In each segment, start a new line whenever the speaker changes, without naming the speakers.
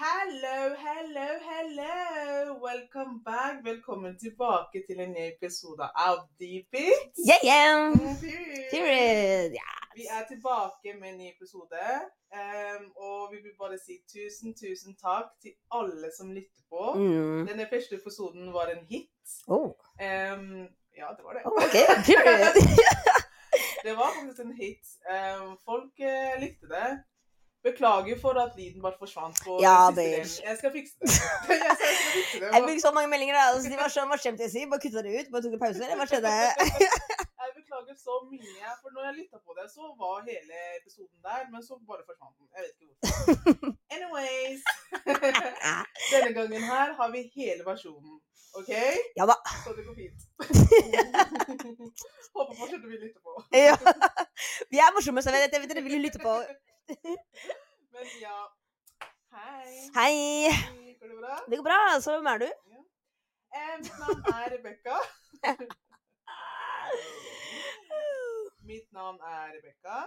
Hello, hello, hello! Welcome back. Velkommen tilbake til en ny episode av Deep It.
Yeah, yeah.
Vi
Period. Ja.
er tilbake med en ny episode. ehm, og vi vil bare si tusen, tusen takk til alle som lytter på.
Mm.
Denne første episoden var en hit.
Oh,
Ehm, ja, det var det.
ok, period.
Det var faktisk en hit. Ehm, folk eh, likte det. Beklager for at lyden bare forsvant på
Ja,
den siste
det-
delen. Jeg skal fikse det. Jeg skal fikse det.
Jeg fikk så mange meldinger. da. Altså, de var sånn, Hva skjemte jeg si? Bare kutta det ut? Bare tok en pause? Eller hva skjedde?
Jeg beklager så mye, for når jeg lytta på det, så var hele episoden der, men så bare forsvant den. Jeg vet ikke hvorfor. Anyways. Denne gangen her har vi hele versjonen, OK?
Ja da.
Så det går fint. Håper fortsatt du vil lytte på.
Ja. Vi er morsomme, så jeg vet, jeg vet dere vil lytte på.
Men ja. Hei.
Hei.
Går det bra?
Det går bra. Så hvem er du?
Eh, Mitt navn er Rebekka. Mitt navn er Rebekka,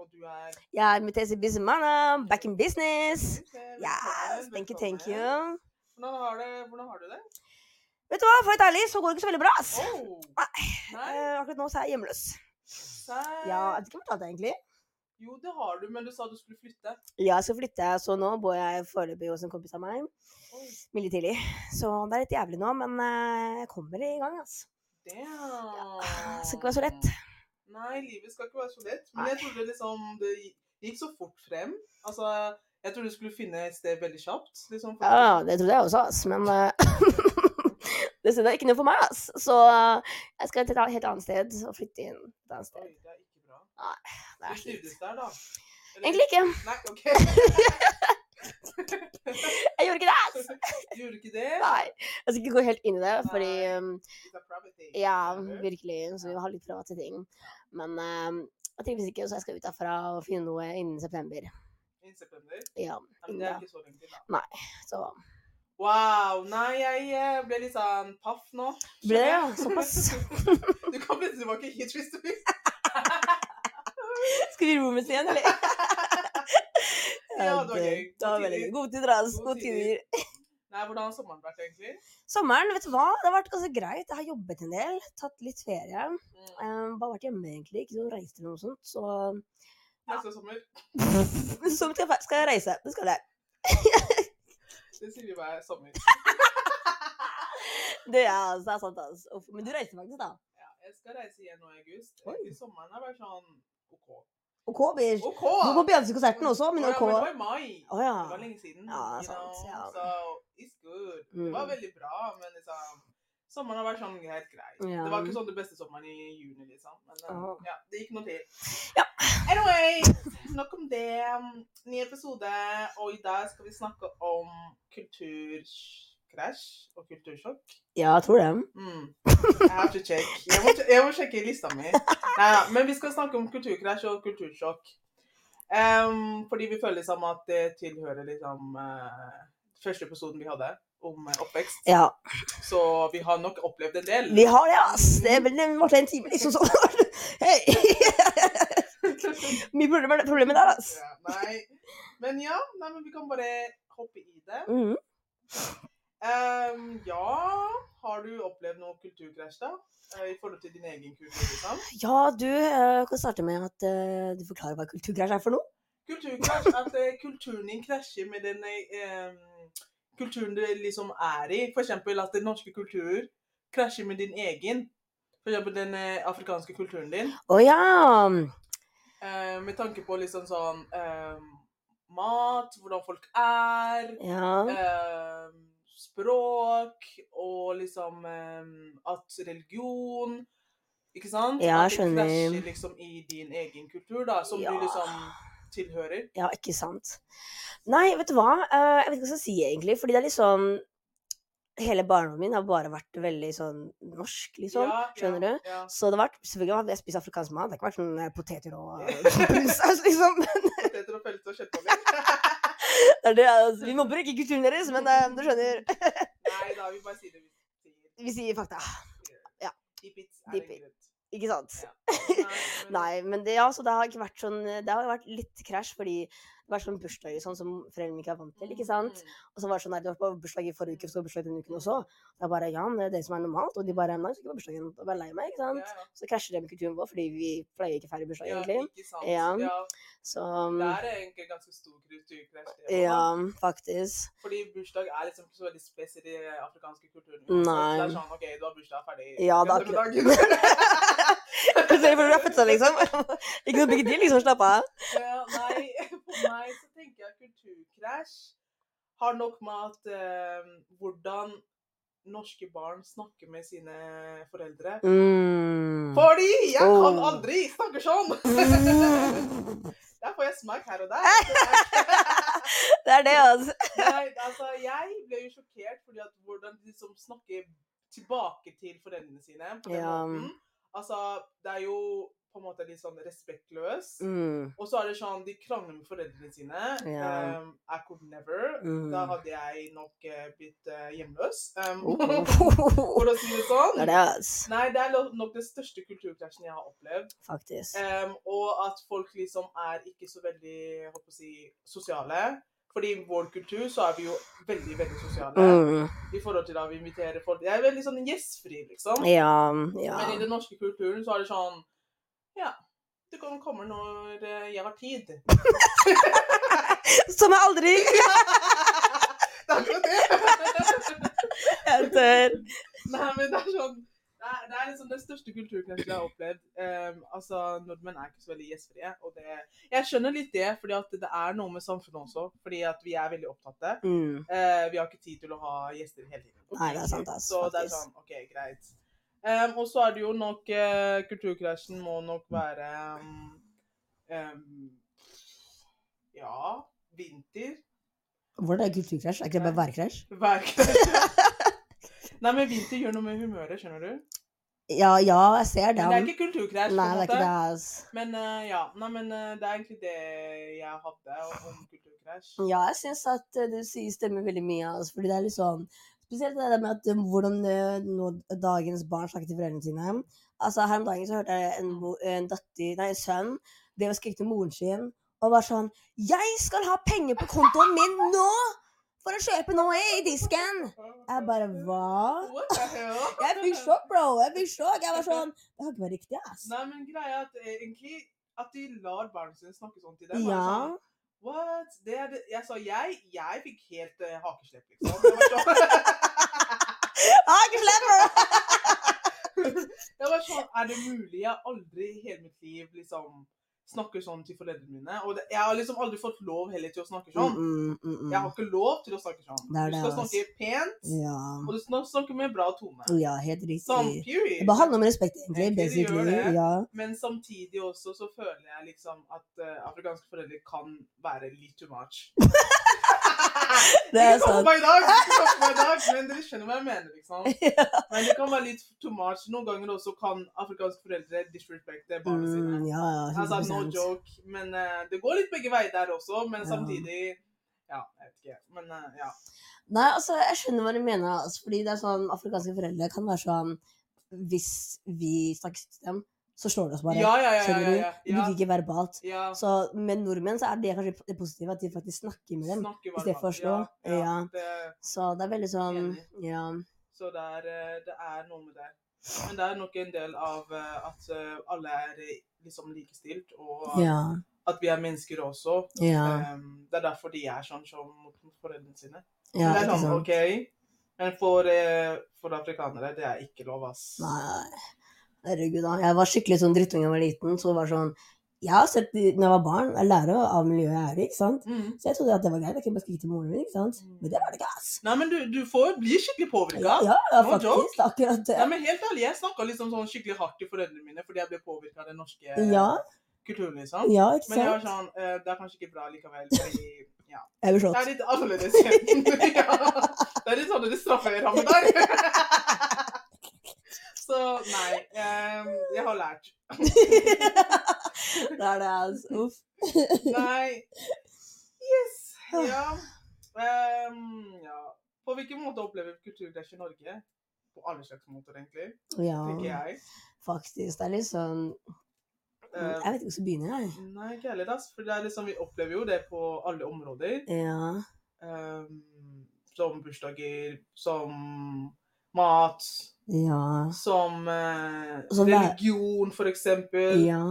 og du er
Jeg er Mutesi Bizimana. Back in business. Yes, thank you, thank you.
Hvordan har, det, hvordan har du det?
Vet du hva, for å være ærlig så går det ikke så veldig bra. ass.
Oh. Nei,
Eh, akkurat nå så er jeg hjemløs.
serr?
Ja, jeg vet ikke om jeg fortalte det egentlig.
Jo, det har du, men du sa du skulle flytte.
Ja, jeg skal flytte, så nå bor jeg foreløpig hos en kompis av meg.
Oi,
Veldig tidlig. Så det er litt jævlig nå, men eh, jeg kommer i gang, altså.
damn.
Det skal ikke være så lett.
Nei, livet skal ikke være så lett. Men jeg trodde liksom det gi- gikk så fort frem. Altså, jeg trodde du skulle finne et sted veldig kjapt. Liksom, for-
Ja, det trodde jeg også, ass, men eh, det stedet er ikke noe for meg, ass. Så eh, jeg skal til et helt annet sted og flytte inn et annet sted.
Oi, det er ikke bra.
Det
Du
er kjipt.
trivdes der, da? Eller-
Egentlig ikke.
Nei, OK.
Jeg gjorde ikke det! ass.
Gjorde ikke det?
Nei. Jeg skal ikke gå helt inn i det, fordi
Nei.
um,
It's a private thing,
Ja,
skjønner du?
virkelig. Så vi har litt private ting. Men um, jeg trives ikke, så jeg skal ut derfra og finne noe innen september.
Innen september.
Ja,
Nei, men
innen
det er
da.
ikke så lenge til, da.
Så
Wow. Nei, jeg eh, ble litt sånn paff nå.
ble det, ja.
skjønner jeg.
Såpass.
Du kan flytte tilbake hit hvis du vil.
Skal vi rommes igjen, eller? Eh,
Ja, det var gøy.
Det var
God
veldig
tider.
gøy. Gode tider, altså.
God
Gode
tider.
tider.
Nei, hvordan har sommeren vært, egentlig?
Sommeren, vet du hva? Det har vært ganske greit. Jeg har jobbet en del, tatt litt ferie.
Mm.
Um, bare vært hjemme, egentlig. Ikke noe reise eller noe sånt. Så
Neste sommer.
så skal jeg, skal jeg reise. Det skal jeg.
Det sier vi hver sommer.
Det er, altså, det er sant, altså. Uff, Men du reiser faktisk, da.
Ja, jeg skal reise igjen nå i august.
Oi.
Egentlig sommeren har vært sånn OK.
OK, bitch.
OK!
Du var på Beyoncé-konserten også, men
Å ja,
OK.
det var i mai.
Å ja.
Det var lenge siden.
Ja,
you
sant,
know,
ja.
So it's good. Det var
Mm.
veldig bra, men liksom Sommeren har vært sånn helt grei.
Ja.
Det var ikke sånn det beste sommeren i juni, liksom. Men eh,
Åh.
ja, det gikk noe til.
Ja.
Anyway, nok om det. Ny episode, og i dag skal vi snakke om kulturkrasj og kultursjokk.
Ja, jeg tror det.
Mm. I have to check. Jeg må, jeg må sjekke lista mi. Neida, men vi skal snakke om kulturkrasj og kultursjokk. Em, fordi vi føler liksom at det tilhører liksom eh, første episoden vi hadde om eh, oppvekst.
Ja.
Så vi har nok opplevd en del.
Vi har det, ass. Det er vel det varte en time, liksom. Så. Hei! Mye problemer problemer der, ass.
Ja, nei. Men ja, nei, men vi kan bare hoppe i det.
Mhm.
Em, ja, har du opplevd noe kulturkrasj, da? Eh, I forhold til din egen kultur, liksom?
Ja, du eh, kan starte med at eh, du forklarer hva kulturkrasj er for noe.
Kulturkrasj, at eh, kulturen din krasjer med den eh, em, kulturen du liksom er i. For eksempel at den norske kulturen krasjer med din egen. For eksempel den eh, afrikanske kulturen din.
Å ja!
Eh, med tanke på liksom sånn em, mat, hvordan folk er,
Ja.
em, språk og liksom em, at religion Ikke sant?
Ja,
at det
skjønner.
krasjer liksom i din egen kultur, da, som
Ja.
du liksom tilhører.
ja, ikke sant. Nei, vet du hva? Eh, jeg vet ikke hva jeg skal si, egentlig. Fordi det er litt sånn Hele barndommen min har bare vært veldig sånn norsk, liksom.
Ja,
skjønner
ja,
du?
Ja.
Så det har vært Selvfølgelig har jeg spist afrikansk mat. Det har ikke vært sånn eh, poteter og eh, brunsaus, liksom.
poteter og pølse og kjøttboller.
Det er det, altså. Vi mobber ikke kulturen deres, men eh, du skjønner.
Nei da, vi bare sier det. vi sier.
Vi sier fakta. Ah, Ja.
Deep it er
Deep
det greit.
Ikke sant?
Ja. Nei, men-
Nei, men det, ja, så det har ikke vært sånn Det har vært litt krasj, fordi Det var sånn bursdager sånn, som foreldrene mine ikke er vant til.
mm,
ikke sant? Og så var det sånn, nei, det var på bursdag i forrige uke, så var det bursdag denne uken også. Og jeg bare, ja, men det er det som er normalt. Og de bare, nei, så ikke på bursdagen. Og bare lei meg, ikke
Ja,
sant. Så krasjer det med kulturen vår, fordi vi pleier ikke å feire bursdag,
ja. ja,
egentlig.
ikke sant. Ja.
Ja. Så mm,
Det er egentlig ganske stor kulturkrasj. det,
ja,
da.
faktisk.
Fordi bursdag er liksom ikke så veldig spes i den afrikanske kulturen.
Nei.
Det er sånn, ok, du har bursdag ferdig.
Ja, det er
akkurat.
Gratulerer for rappet seg, liksom. ikke noe big deal, liksom. Slapp av.
ja, nei, for meg så tenker jeg at kulturkrasj har nok med at eh, hvordan norske barn snakker med sine foreldre.
Mm.
Fordi jeg kan
Oh.
aldri snakke sånn!
Mm.
Der får jeg smak her og der.
Det er det, altså.
Nei, altså, jeg ble jo sjokkert fordi at hvordan de liksom snakker tilbake til foreldrene sine på den
Ja.
måten. Altså, det er jo på en måte litt sånn respektløst.
Mm.
Og så er det sånn, de krangler med foreldrene sine.
Ja.
Um, I could never.
Mm.
Da hadde jeg nok eh, blitt eh, hjemløs. Um,
Oh.
for å si det sånn.
Det er det, altså.
Nei, det er lo- nok den største kulturkrasjen jeg har opplevd.
Faktisk.
Um, og at folk liksom er ikke så veldig jeg håper å si, sosiale. Fordi i vår kultur så er vi jo veldig, veldig sosiale.
Mm.
I forhold til da vi inviterer folk. Jeg er veldig sånn gjestfri, liksom.
Ja, ja.
Men i den norske kulturen så er det sånn Ja, du kan komme når eh, jeg har tid.
Som jeg aldri
Det er akkurat det.
Jeg dør.
Nei, men det er sånn Det er, det er liksom den største kulturkrasjen jeg har opplevd. Um, altså, Nordmenn er ikke så veldig gjestfrie. Og det, jeg skjønner litt det, fordi at det er noe med samfunnet også. Fordi at vi er veldig opptatte.
Mm.
Eh, vi har ikke tid til å ha gjester hele tiden.
Nei, det er sant, ass,
Så det er
faktisk.
sånn, ok, greit. Um, og så er det jo nok eh, Kulturkrasjen må nok være um, um, Ja, vinter.
Hvordan er kulturkrasj? Er ikke det bare værkrasj?
Værkrasj. Nei, men vinter gjør noe med humøret, skjønner du.
Ja, ja, jeg ser det.
Men det er ikke kulturkrasj. på en
Nei, det er
måte.
ikke det. ass.
Men eh, ja, nei, men eh, det er egentlig det jeg hadde om kulturkrasj.
Ja, jeg syns at eh, det du sier stemmer veldig mye. Altså, fordi det er litt sånn Spesielt det der med at eh, hvordan eh, nå, dagens barn snakker til foreldrene sine. Altså, Her om dagen så hørte jeg en, mo- en datter, nei, en sønn det å skrike til moren sin og var sånn 'Jeg skal ha penger på kontoen min nå! For å kjøpe noe i disken!' Jeg bare Hva?
What the hell?
Jeg fikk sjokk, bro. Jeg fikk sjokk. Jeg var sånn Det kan ikke være riktig, ass.
Nei, men greia er at eh, egentlig at de lar barna sine snakke sånn til dem.
Ja.
Bare Sånn, What? Det er det. Jeg sa jeg, jeg fikk helt eh, hakeslepp, liksom. Jeg var, sånn,
Ah, ikke slem, bro.
jeg var sånn, er det mulig? Jeg har aldri i hele mitt liv liksom snakker sånn til foreldrene mine. Og det, jeg har liksom aldri fått lov heller til å snakke sånn.
Mm, mm, mm,
Jeg har
mm.
ikke lov til å snakke sånn.
Det er
Du
det,
skal
ass.
snakke pent, og
Ja.
du skal snakke med bra tone.
ja, helt
Sånn,
riktig. Det
period.
bare handler om respekt, egentlig.
Egentlig det gjør
basically.
det.
Ja.
Men samtidig også så føler jeg liksom at eh, afrikanske foreldre kan være litt too much.
Det er
Ikke
sånn, sant.
meg i dag, ikke komme på meg i dag, men dere skjønner hva jeg mener, liksom. Men det kan være litt too much. Noen ganger også kan afrikanske foreldre disrespekte barna sine.
Mm, ja, ja,
Altså, no
100
joke. Men eh, det går litt begge veier der også, men
Ja.
samtidig Ja, jeg vet ikke. Men eh, ja.
Nei, altså, jeg skjønner hva du mener. Altså, fordi det er sånn, Afrikanske foreldre kan være sånn Hvis vi snakker til dem, så slår det oss bare.
Ja, ja, ja. ja,
Skjønner du?
ja,
Vi
ja,
bruker ikke verbalt.
ja.
Så med nordmenn så er det kanskje det positive at de faktisk snakker med dem.
Snakke
stedet for
varmt.
å
Ja,
slå.
ja.
Ja.
Det,
Så det er veldig sånn Ja.
så det er, eh, det er noe med det. Men det er nok en del av eh, at eh, alle er eh, liksom likestilt, og
Ja.
at vi er mennesker også.
Ja.
Ehm, det er derfor de er sånn som mot foreldrene sine.
ja
det er
ikke
sånn,
sant.
ok, Men for, eh, for afrikanere, det er ikke lov, ass.
Nei, herregud da. Jeg var skikkelig sånn drittung da jeg var liten. Så det var sånn Jeg har sett når jeg var barn, jeg lærer jo av miljøet jeg er i, ikke sant.
Mm.
Så jeg trodde at det var greit. Jeg kunne bare skrike til moren min, ikke sant. Men det var det ikke, ass.
Nei, men du, du får bli skikkelig påvirka.
Ja, ja, ja
No joke.
faktisk. Det er akkurat det.
Nei, men helt ærlig, jeg snakka liksom sånn skikkelig hardt til foreldrene mine fordi jeg ble påvirka av den norske eh,
Ja,
kulturen, liksom.
ja, ikke
Men jeg var
sant.
sånn, eh, det er kanskje ikke bra likevel, fordi ja.
Jeg blir
Det er
slått.
litt annerledes. ja. Det er litt sånn det strafferammer der. Så nei, eh, jeg har lært.
Det er det, ass. Uff.
Nei. Yes. Ja. Ehm, ja. På hvilken måte opplever kulturkrasj i Norge? På alle slags måter, egentlig, tenker
Ja,
jeg.
faktisk. Det er litt sånn
Eh,
Jeg vet ikke hvordan jeg begynner, jeg.
Nei, ikke heller, ass. For det er liksom, vi opplever jo det på alle områder.
Ja.
Eh, som bursdager, som mat,
Ja.
som eh,
Som det er-
religion, for eksempel.
ja.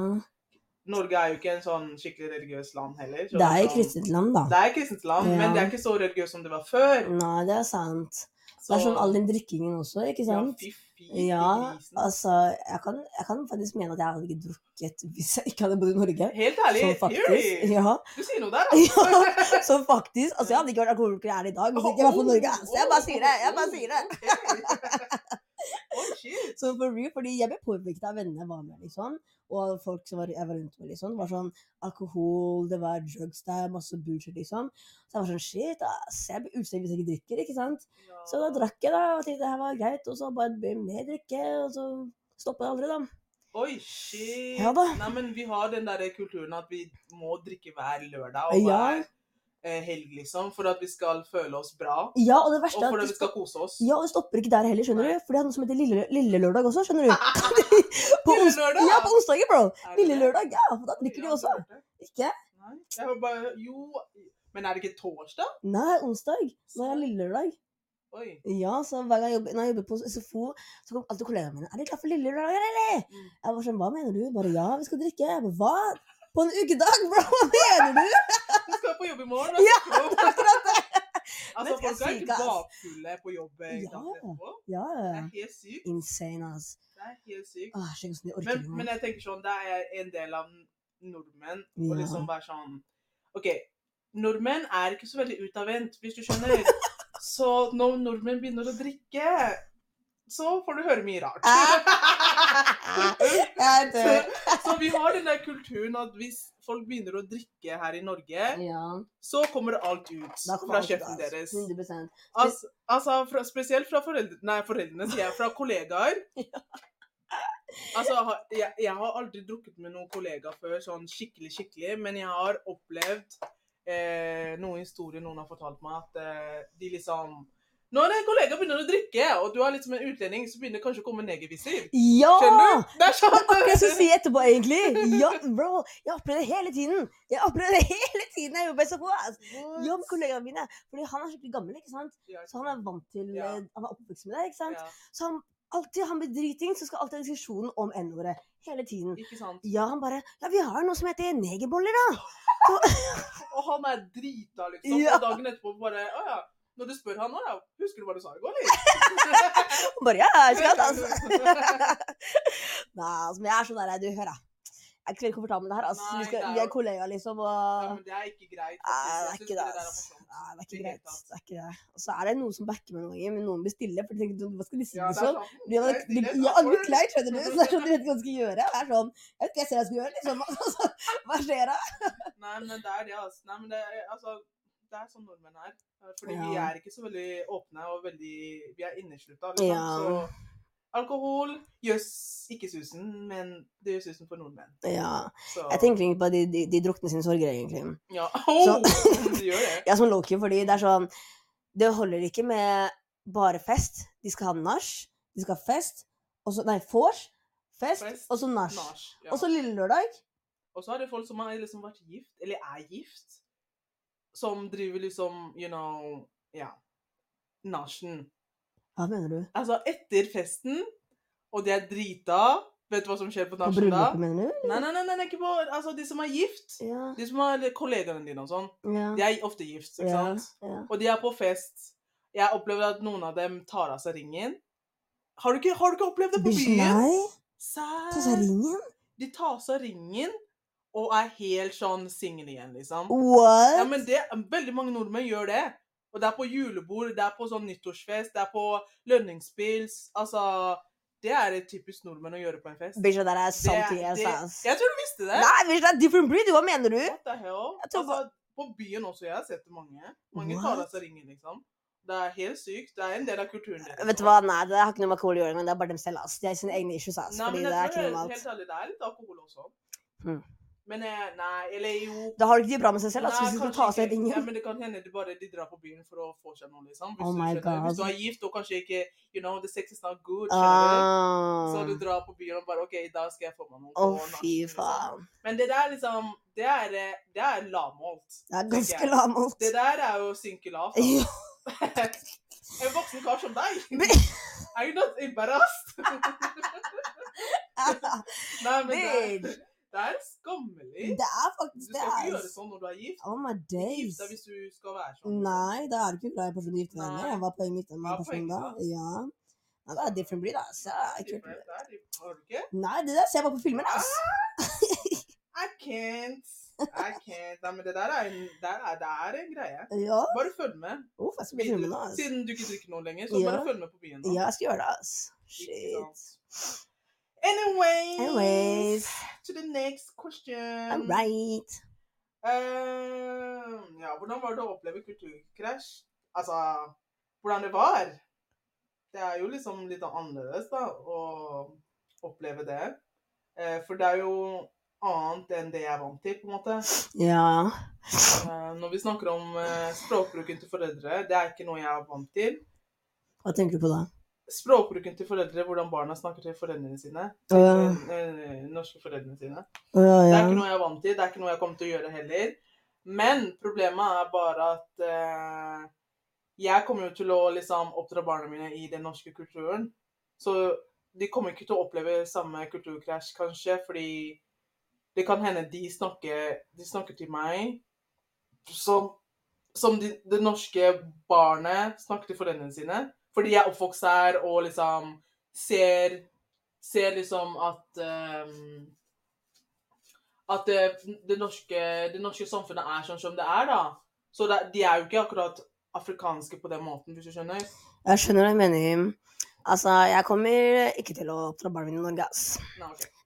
Norge er jo ikke en sånn skikkelig religiøst land heller. så
Det er jo
sånn-
kristent land, da.
Det er et kristent land,
Ja.
men det er ikke så religiøst som det var før.
Nei, det er sant. Det
Så-
er sånn all den drikkingen også, ikke
Ja,
sant?
fy fy til
Ja,
grisen.
altså jeg kan, jeg kan faktisk mene at jeg hadde ikke drukket hvis jeg ikke hadde bodd i Norge.
Helt ærlig,
Som sånn faktisk,
Fury!
ja,
Du sier noe der,
ja,
altså.
som faktisk Altså, jeg hadde ikke vært alkoholiker jeg er i dag hvis jeg ikke var på Norge. Så jeg bare sier det. jeg bare sier det.
Oh, shit.
Så for real, fordi jeg ble påvirket av venner jeg var med, liksom. Og folk som var, jeg var rundt med, liksom. var sånn alkohol, det var drugs der, masse bullshit, liksom. Så jeg var sånn shit, ass. Jeg blir utstengt hvis jeg ikke drikker, ikke sant. Så da drakk jeg, da, og tenkte det her var greit. Og så bare ble det mer drikke, og så stoppet jeg aldri, da.
Oi, shit.
Ja da.
Nei, men vi har den der kulturen at vi må drikke hver lørdag og
Ja.
hver eh, helg, liksom, for at vi skal føle oss bra, og
Ja, og det verste
for
er
at
at
vi skal kose oss.
Ja, og det stopper ikke der heller, skjønner
Nei.
du. For de har noe som heter Lille, lille Lørdag også, skjønner du. på
Lille
ons-
Lørdag?
Ja, på onsdager, bro.
Er det
Lille
det?
Lørdag, ja. For da drikker
Ja,
de også.
har hørt det.
Ikke?
Nei, jeg var bare, jo, men er det ikke torsdag?
Nei, onsdag. Nå er det Lille Lørdag.
Oi.
Ja, så hver gang jeg jobber, når jeg jobber på SFO, så kommer alltid kollegaene mine. Er dere klar for Lille Lørdag, eller?
Mm.
Jeg var sånn, hva mener du? Bare ja, vi skal drikke. Jeg bare, hva? På en ukedag, bro? Hva mener du?
Du skal på jobb i morgen. Ja, akkurat det! Altså,
Men jeg
folk er
sier
ikke
ikke, ass.
bakfulle på jobb. eh,
Ja.
dagen etterpå.
Ja,
Det er helt sykt.
insane, ass.
Det er helt sykt.
Åh, skjønner ikke hvordan de orker
Men,
engang.
men jeg tenker sånn, det er en del av nordmenn
Ja.
å liksom være sånn OK, nordmenn er ikke så veldig utadvendt, hvis du skjønner. Så når nordmenn begynner å drikke, så får du høre mye rart.
Jeg
Så,
dør.
så vi har den der kulturen at hvis folk begynner å drikke her i Norge,
Ja,
så kommer alt ut
da kommer
fra
alt
kjeften
ut, ass.
deres.
100
Altså, altså fra, spesielt fra foreldre, nei, foreldrene, sier jeg, fra kollegaer. Altså, ha- jeg, jeg har aldri drukket med noen kollegaer før, sånn skikkelig, skikkelig, men jeg har opplevd eh, noen historier noen har fortalt meg, at eh, de liksom Når en kollega begynner å drikke, og du er liksom en utlending, så begynner det kanskje å komme negevisiv.
Ja!
Skjønner du? Det er sånn.
Hva jeg skulle si etterpå, egentlig? Ja, bro, jeg opplever det hele tiden. Jeg opplever det hele tiden jeg jobber i SFO. ass. Ja, med kollegaene mine. Fordi han er skikkelig gammel, ikke sant? så han er vant til
Ja.
eh, Han er oppvokst med det, ikke sant?
Ja,
Så han, alltid han blir driting, så skal alltid ha diskusjonen om N-ordet. Hele tiden.
ikke sant?
Ja, han bare Ja, vi har noe som heter negerboller, da.
Og han er drita, liksom.
Ja.
Og dagen etterpå bare Å ja. Når du spør han nå, ja. Husker du hva du sa i går, eller?
Han bare Ja, ikke sant? Altså. Nei, altså, men jeg er sånn der Du, hør, da. Jeg er ikke veldig komfortabel med det her. Altså.
Nei,
vi, skal,
det er
vi
jo-
er kollegaer, liksom,
Ja,
og
men det er ikke greit.
Nei, Ah, det
Jeg
er
synes
ikke det.
der er altså.
ass.
morsomt.
Nei,
I
det er ikke
det hele
greit.
tatt.
Det er ikke det. Og så er det noen som backer meg noen ganger, men noen blir stille. For de tenker sånn, hva skal de
Ja,
si
det er
liksom?
sant.
Blir man-
Det er stille,
blir-
det
Ja,
er
alle blir
awkward.
klein, skjønner du. Så det er sånn, du vet ikke hva du skal gjøre. Det er sånn, jeg vet ikke hva jeg ser jeg skal gjøre, liksom. Altså, hva skjer da?
Nei, men det er det, altså. Nei, men det er, altså, det er sånn nordmenn er. Fordi vi
Ja.
er ikke så veldig åpne og veldig Vi er inneslutta. Liksom.
Ja.
Så alkohol gjør s- ikke susen, men det gjør susen for nordmenn.
Ja,
Så
jeg tenker egentlig på de, de, de drukne sine sorger, egentlig.
ja.
Så-
Åh, det gjør det.
Jeg er sånn lowkey, fordi det er sånn, det holder ikke med bare fest. De skal ha nach, de skal ha fest, og så, nei, vors, fest,
Fest,
og så nach.
Nach, ja.
Og så lille lørdag.
Og så er det folk som har liksom vært gift, eller er gift, som driver liksom, you know, ja, nasjen.
Hva mener du?
Altså, etter festen, og det er drita, vet du hva som skjer på
På
nasjen da?
bryllupet, mener du?
Nei, nei, nei, nei, ikke på, altså, de som er gift,
Ja,
de som er kollegaene dine og sånn,
ja.
de er ofte gift, ikke
Ja,
sant?
ja.
Og de er på fest. Jeg opplever at noen av dem tar av seg ringen. Har du ikke, har du ikke opplevd det på
Bish-
byen?
Nei, ta seg
Serr.
ringen.
De tar av seg ringen, og er helt sånn singel igjen, liksom.
What?
Ja, men det, veldig mange nordmenn gjør det. Og det er på julebord, det er på sånn nyttårsfest, det er på lønningspils. Altså, det er det typisk nordmenn å gjøre på en fest.
Bitch, det der er sant
Det-
i ass,
det-
ass.
Jeg tror du visste det!
Nei, bitch, det er different breed, hva mener du?
What the hell?
Jeg tror
Altså, på byen også, jeg har sett det mange. Mange
What?
tar av seg ringen, liksom. Det er helt sykt. Det er en del av kulturen deres. altså.
Vet du hva, nei, det har ikke noe med alkohol å gjøre, men det er bare dem selv, ass. De har sine egne issues, ass.
Nei, men
fordi
jeg
det er
tror
ikke
helt-
normalt.
Helt ærlig, det er litt alkohol også.
Mm.
Men eh, nei, eller jo
Da har du ikke det bra med seg selv. Altså,
Nei,
hvis du skal
kanskje
ta seg
ikke.
ringen.
Ja, men det kan hende det bare de drar på byen for å få seg noe, liksom. Hvis,
Oh
du,
my
skjønner.
God.
hvis du er gift og kanskje ikke You know, the sex is not good. skjønner du? Så
Ah.
du drar på byen og bare OK, i dag skal jeg få meg noe.
Å,
på nachspiel, liksom.
fy faen.
Men det der, liksom Det er, eh, det er lavmålt.
Det er
tenker
ganske
jeg.
lavmålt.
Det der er jo å synke lavt. da.
Ja.
en voksen kar som deg!
Men-
Are you not embarrassed? Nei, men det
Bitch.
er, det er skammelig.
Det er
Du
faktisk
skal
det.
ikke
Er.
gjøre sånn når du er gift.
Oh my
Gift
days.
deg hvis du skal være sånn.
Nei, da er du ikke glad i personen du gifter deg med.
Nei.
Jeg var på en gifte med
Hva
en
er
person
poenget
da.
da?
Ja. Nei, det er different breed, ass. Det er ikke
Different Ah! der, de- Har du ikke?
Nei, det der ser jeg bare på filmer, ass.
I can't. I can't. Nei, men det der er en, der er, det er en greie.
Ja.
Bare følg med.
Uff, jeg skal bli filmen,
videre.
ass.
Siden du ikke drikker noe lenger, så
Ja.
bare følg med på byen.
Ja,
da.
jeg skal gjøre det, ass.
Ikke
Shit.
sant? Anyways,
Anyways.
to the next question.
All right.
Eh, ja, hvordan var det å oppleve kulturkrasj? Altså, hvordan det var? Det er jo liksom litt annerledes da, å oppleve det. Eh, for det er jo annet enn det jeg er vant til, på en måte.
Ja.
Eh, når vi snakker om eh, språkbruken til foreldre, det er ikke noe jeg er vant til.
Hva tenker du på da?
Språkbruken til foreldre, hvordan barna snakker til foreldrene sine.
Å ja.
eh, eh, norske foreldrene sine.
Å ja,
Det
ja.
er ikke noe jeg er vant til, det er ikke noe jeg kommer til å gjøre heller. Men problemet er bare at eh, jeg kommer jo til å liksom oppdra barna mine i den norske kulturen. Så de kommer ikke til å oppleve samme kulturkrasj, kanskje, fordi det kan hende de snakker, de snakker til meg som, som de, det norske barnet snakker til foreldrene sine. Fordi jeg er oppvokst her og liksom ser, ser liksom at eh, at det, det, norske, det norske samfunnet er sånn som det er, da. Så det, de er jo ikke akkurat afrikanske på den måten, hvis du skjønner.
Jeg skjønner hva du mener. Altså, jeg kommer ikke til å oppdra barna mine i Norge, ass.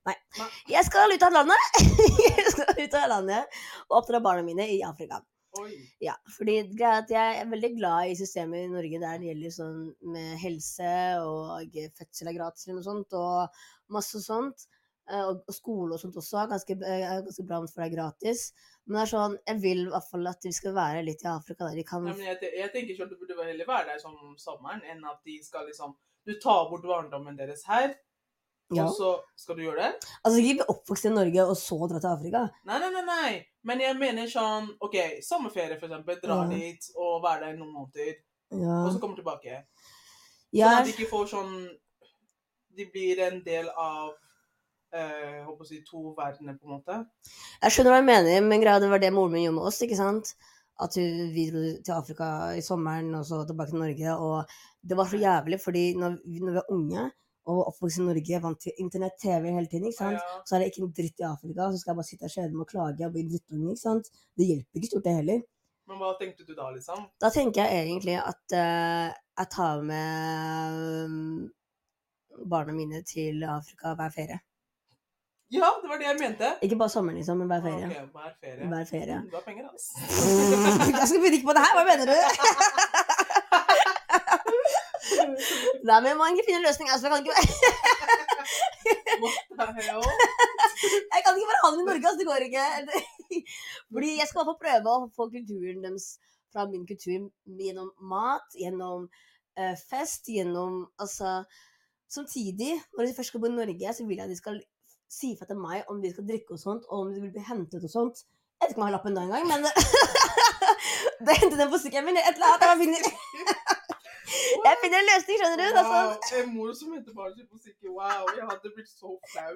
Nei, ok.
Jeg skal ut av landet! jeg skal ut av landet og oppdra barna mine i Afrika.
Oi.
Ja, fordi greia er at jeg er veldig glad i systemet i Norge der det gjelder sånn med helse og fødsel er gratis eller noe sånt, og masse sånt. eh, Og og skole og sånt også er ganske, eh, er ganske bra for det er gratis. Men det er sånn, jeg vil i hvert fall at de skal være litt i Afrika der de kan
Nei, men jeg, te- jeg tenker ikke at det burde heller være der som sommeren, enn at de skal liksom Du tar bort barndommen deres her,
ja.
og så skal du gjøre det?
Altså ikke bli oppvokst i Norge og så dra til Afrika.
Nei, nei, nei. nei. Men jeg mener sånn OK, sommerferie, for eksempel. Dra
Ja.
dit og være der noen måneder,
Ja.
og så kommer tilbake. Sånn at
Jeg,
de ikke får sånn De blir en del av eh, håper å si, to verdener, på en måte.
jeg skjønner hva du mener, men greia det var det moren min gjorde med oss. ikke sant? At hun- vi dro til Afrika i sommeren og så tilbake til Norge. Og det var så jævlig, fordi når vi, når vi var unge og oppvokst i Norge, vant til internett, TV hele tiden, ikke sant?
Ja.
så er det ikke en dritt i Afrika. Så skal jeg bare sitte og kjede meg og klage og bli en drittunge. ikke sant? Det hjelper ikke stort, det heller.
Men hva tenkte du da, liksom?
Da tenker jeg egentlig at eh, jeg tar med eh, barna mine til Afrika hver ferie.
Ja, det var det jeg mente.
Ikke bare sommeren, liksom, men hver ferie.
Ah, Ok, hver ferie.
Hver ferie.
Mm, Du har penger, altså.
Jeg skal begynne ikke på det her, hva mener du? Nei, men man kan finne en løsning. Altså, jeg, kan ikke,
What the hell?
jeg kan ikke bare ha dem i Norge, altså, det går ikke. Fordi jeg skal i hvert fall prøve å få kulturen deres fra min kultur gjennom mat, gjennom eh, fest, gjennom Altså Samtidig, når de først skal bo i Norge, så vil jeg at de skal si fra til meg om de skal drikke og sånt, og om de vil bli hentet og sånt. Jeg vet ikke om jeg har lappen da engang, men Da henter den på sykkelen min, eller et eller annet. Jeg finner, jeg finner en løsning, skjønner du? Det er sånn.
Wow, en mor som henter barnet sitt på syke. Wow, jeg hadde blitt så flau.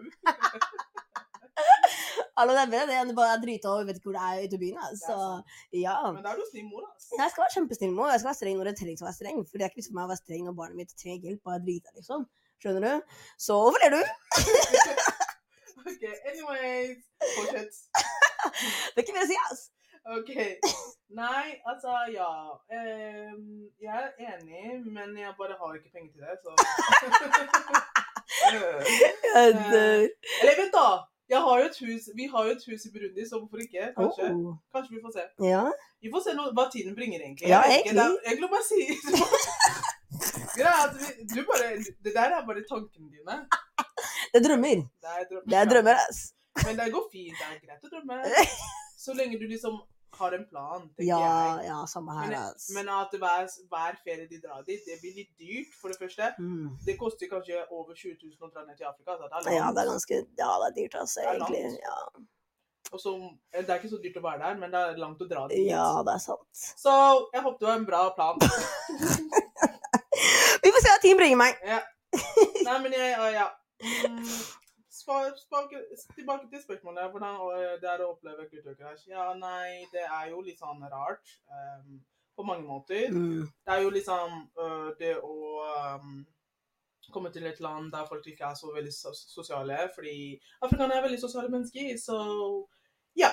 Alle det er bedre det enn å bare drite og vet ikke hvor det er ute i byen. da.
Det er
Så
sant.
ja.
Men da er du snill mor, altså.
Nei, Jeg skal være kjempesnill med henne. Jeg skal være streng når jeg trenger å være streng. For det er ikke vits for meg å være streng når barnet mitt trenger hjelp. Bare drite, liksom. Skjønner du? Så hvorfor ler du?
Ok, anyways. Fortsett.
Det er ikke mer å si, ass.
Ok. Nei, altså, ja. Ehm, jeg er enig, men jeg bare har ikke penger til det, så Eh,
Kødder.
Eller vent, da. Jeg har jo et hus, vi har jo et hus i Burundi, så hvorfor ikke? Kanskje,
Oh.
kanskje vi får se.
Ja.
Vi får se noe, hva tiden bringer, egentlig.
Ja,
Jeg vet ikke,
egentlig.
det er- Jeg vil bare si Greia er at vi- du bare, Det der er bare tankene dine.
Det er drømmer.
Det er drømmer.
Det er drømmer, ass.
Men det går fint. Det er greit å drømme. Så lenge du liksom har en plan, tenker
Ja,
jeg.
ja, samme her,
Men,
altså.
men at hver, hver ferie de drar dit, det blir litt dyrt, for det første.
Mm.
Det koster kanskje over 20 000 å dra ned til Afrika. Så det er
Ja,
langt.
det er ganske Ja, det er dyrt, altså,
Det er langt.
egentlig. Ja,
Og så, det er ikke så dyrt å være der, men det er langt å dra dit.
ja, det er sant.
Så jeg håper det var en bra plan.
Vi får se hva tiden bringer meg.
Nei, men jeg Ja. ja. Mm, svar, spake, tilbake til spørsmålet. Hvordan øh, det er å oppleve kulturkrasj. Ja, nei, det er jo litt sånn rart. ehm, på mange måter.
Mm.
Det er jo liksom øh, det å ehm, komme til et land der folk ikke er så veldig so- sosiale, fordi afrikanere er veldig sosiale mennesker, så ja.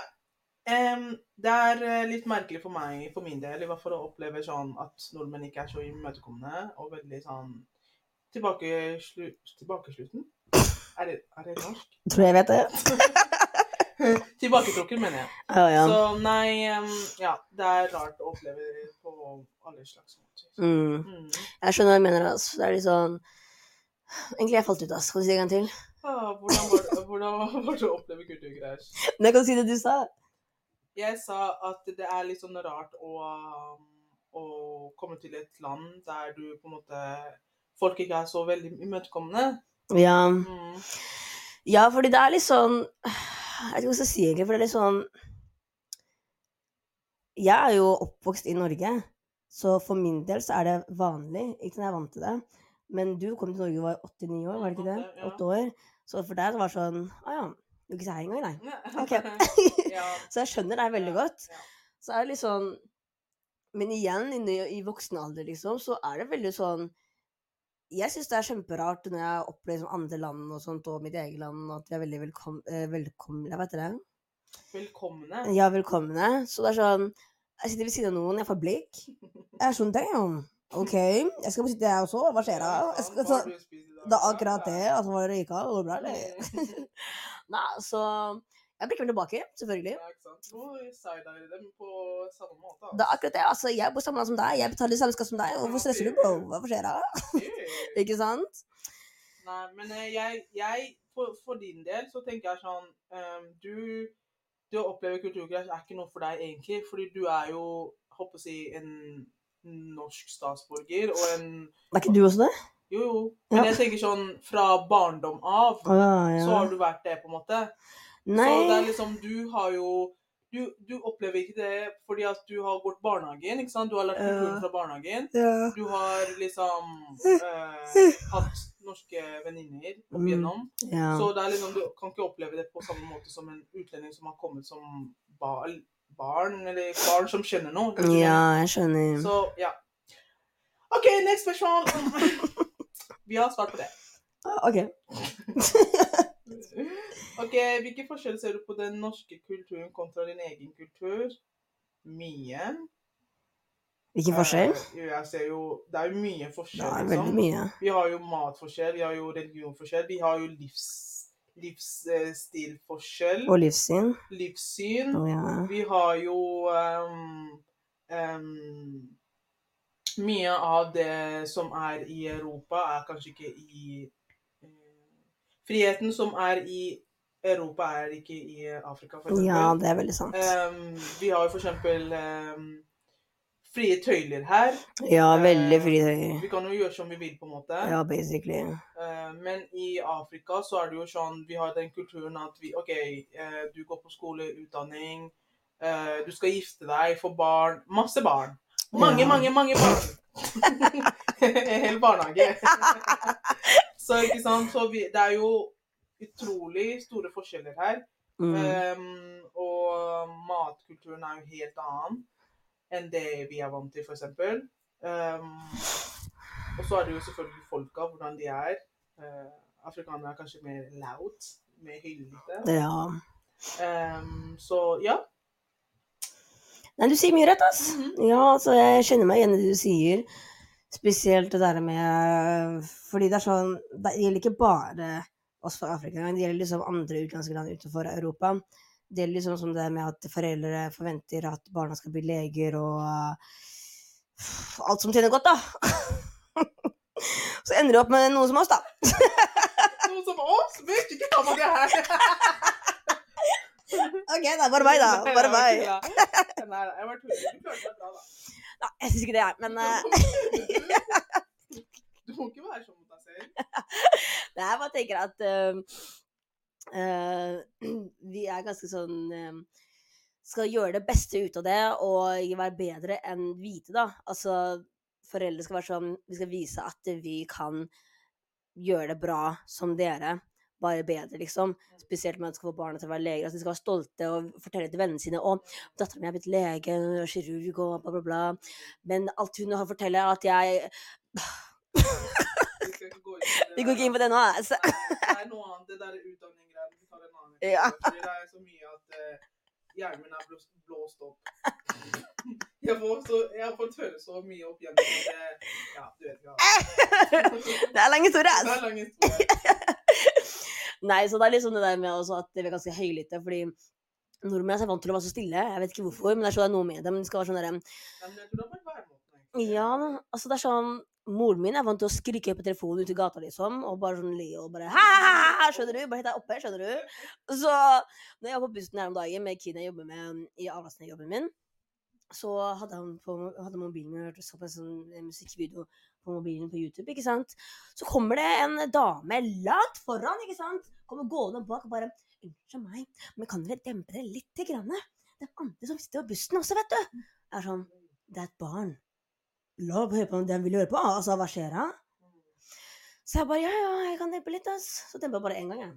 Ehm, det er eh, litt merkelig for meg, for min del, i hvert fall å oppleve sånn at nordmenn ikke er så imøtekommende og veldig sånn tilbakeslu, tilbakesluten. Er det, er det norsk?
Tror jeg vet det.
Tilbaketrukken, mener jeg.
Ja, ja.
Så nei, ehm, ja. Det er rart å oppleve det på alle slags måter.
Mm.
Mm.
Jeg skjønner hva du mener, altså. Det er litt sånn Egentlig jeg falt ut, ass. Kan du si det en gang til?
Ah, hvordan, var det, hvordan var det å oppleve kulturkrasj?
Nei, kan du si det du sa?
Jeg sa at det er litt sånn rart å, um, å komme til et land der du på en måte Folk ikke er så veldig imøtekommende.
Ja.
Mm.
ja, fordi det er litt sånn Jeg vet ikke hva jeg skal si, egentlig, for det er litt sånn Jeg er jo oppvokst i Norge, så for min del så er det vanlig. Ikke sant, jeg er vant til det. Men du kom til Norge og var 89 år, var det ikke
Åtte,
det?
ja.
Åtte år. Så for deg det var sånn Å ja, du er ikke så her engang, nei. Ok.
ja,
Så jeg skjønner deg veldig
Ja,
godt.
ja.
Så er det litt sånn Men igjen, inne i, i voksen alder, liksom, så er det veldig sånn Jeg syns det er kjemperart når jeg opplever liksom, andre land og sånt, og mitt eget land, at vi er veldig velkom, eh, velkomne Hva heter det?
Velkomne.
Ja, velkomne. Så det er sånn Jeg sitter ved siden av noen, jeg får blikk. Jeg er sånn Damn! OK, jeg skal bare sitte her også. Hva skjer da? Jeg skal,
Hva har
så,
du spist i dag? Mm.
det er akkurat det.
Ja.
Altså, hva røyka? Går det bra, eller? Nei, så Jeg blikker vel tilbake, selvfølgelig.
Ja, ikke sant. Nå sider dem på samme måte.
Det er akkurat det. altså, Jeg bor samme land som deg, jeg betaler samme skatt som deg. Hvorfor stresser du, bro? Hva skjer da?
akkurat
Ikke sant?
Nei, men eh, jeg, jeg for, for din del så tenker jeg sånn ehm, du, det å oppleve kulturkrasj er ikke noe for deg egentlig, fordi du er jo, håper å si, en norsk statsborger, og en
Er ikke du også det?
Jo, jo. Men jeg tenker sånn fra barndom av,
Å, ja, ja.
så har du vært det, på en måte.
Nei.
Så det er liksom, du har jo du, du opplever ikke det fordi at du har gått barnehagen, ikke sant? Du har lært
Ja.
kulturen fra barnehagen.
Ja.
Du har liksom eh, hatt norske venninner opp
Mm.
igjennom.
ja.
Så det er liksom, du kan ikke oppleve det på samme måte som en utlending som har kommet som bar, barn, eller barn som skjønner noe. vet du hva jeg
ja,
mener?
jeg skjønner.
Så, ja. OK, next spørsmål. Vi har svart på det.
Ah, OK.
OK, hvilke forskjeller ser du på den norske kulturen kontra din egen kultur? Mye.
Hvilken forskjell?
Eh, Jeg ser jo Det er jo mye forskjell,
Ja,
liksom.
veldig mye.
Vi har jo matforskjell, vi har jo religionforskjell, vi har jo livs, livsstilforskjell,
Og livssyn.
livssyn.
Å, ja.
Vi har jo ehm, ehm, Mye av det som er i Europa, er kanskje ikke i eh, Friheten som er i Europa, er ikke i Afrika, for
ja,
eksempel.
det er veldig sant.
Ehm, vi har jo for eksempel ehm, frie tøyler her.
Ja, veldig
eh,
fritøyer.
Vi kan jo gjøre som vi vil, på en måte.
Ja, basically.
Eh, Men i Afrika så er det jo sånn Vi har den kulturen at vi OK, eh, du går på skole, utdanning. eh, Du skal gifte deg, få barn. Masse barn. Mange,
Ja.
mange, mange barn. En hel barnehage. så ikke sant. Så vi, det er jo utrolig store forskjeller her.
Mm.
Ehm, og matkulturen er jo helt annen enn det vi er vant til, f.eks. Um, og så er det jo selvfølgelig folka, hvordan de er. Eh, afrikanere er kanskje mer loud, mer hyllete.
Ja.
Ehm, så ja.
Nei, du sier mye rett, ass. Ja, altså, jeg kjenner meg igjen i det du sier. Spesielt det der med Fordi det er sånn Det gjelder ikke bare oss fra Afrika engang. Det gjelder liksom andre utenlandske land utenfor Europa. Det gjelder liksom som det med at foreldre forventer at barna skal bli leger og eh, Alt som tjener godt, da. Så ender du opp med noen som oss, da.
Noen som oss, vet ikke hva man er her.
OK, det er bare meg, da.
Nei,
Bare meg.
jeg bare tulla. Nei, nei, jeg bare tuller. Du klarte deg bra, da.
Nei, jeg syns ikke det, jeg. Men eh,
Du må ikke være sånn mot deg selv.
Nei, jeg bare tenker at øhm, øh, vi er ganske sånn øhm, Skal gjøre det beste ut av det og være bedre enn hvite, da. Altså, foreldre skal være sånn Vi skal vise at vi kan gjøre det bra som dere. Bare bedre, liksom. Spesielt med at de skal få barna til å være leger. Altså, de skal være stolte og fortelle til vennene sine om dattera mi er blitt lege, hun er kirurg og bla, bla, bla. Men alt hun har å fortelle, er at jeg
Vi skal ikke gå inn på det
Vi går ikke inn på
der.
det nå, altså.
Nei, Det er noe annet, det der utdanning-greiene. Vi tar en annen episode,
Ja.
fordi Det er så mye at eh, hjernen min er blåst, blåst opp. Jeg, får så, jeg har fått høre så mye opp gjennom at eh, Ja, du vet ikke. hva.
Det er altså- lang historie, altså.
Det
ass.
er en lang historie.
Nei, så det er liksom det der med også at vi er ganske høylytte, fordi nordmenn er vant til å være så stille. Jeg vet ikke hvorfor, men det er så det er noe med dem. De skal være sånn der,
Men jeg tror det er bare væremåten. egentlig.
ja, altså det er sånn Moren min er vant til å skrike på telefonen ute i gata, liksom, og bare sånn le og bare ha, ha, ha, ha, Skjønner du? Bare helt der oppe, skjønner du? Så når jeg var på bussen her om dagen med kiden jeg jobber med um, i avlastningen i jobben min, så hadde han på hadde mobilen min hørt så på en sånn musikkvideo på mobilen på YouTube, ikke sant? Så kommer det en dame langt foran, ikke sant? Kommer gående bak og bare Unnskyld meg, men kan dere dempe det lite grann? Det er andre som sitter på bussen også, vet du. Jeg er sånn Det er et barn. La henne høre på det hun vil høre på. Altså, hva skjer da?
Mm.
Så jeg bare Ja, ja, jeg kan dempe litt, ass. Så dempa jeg bare én gang, jeg.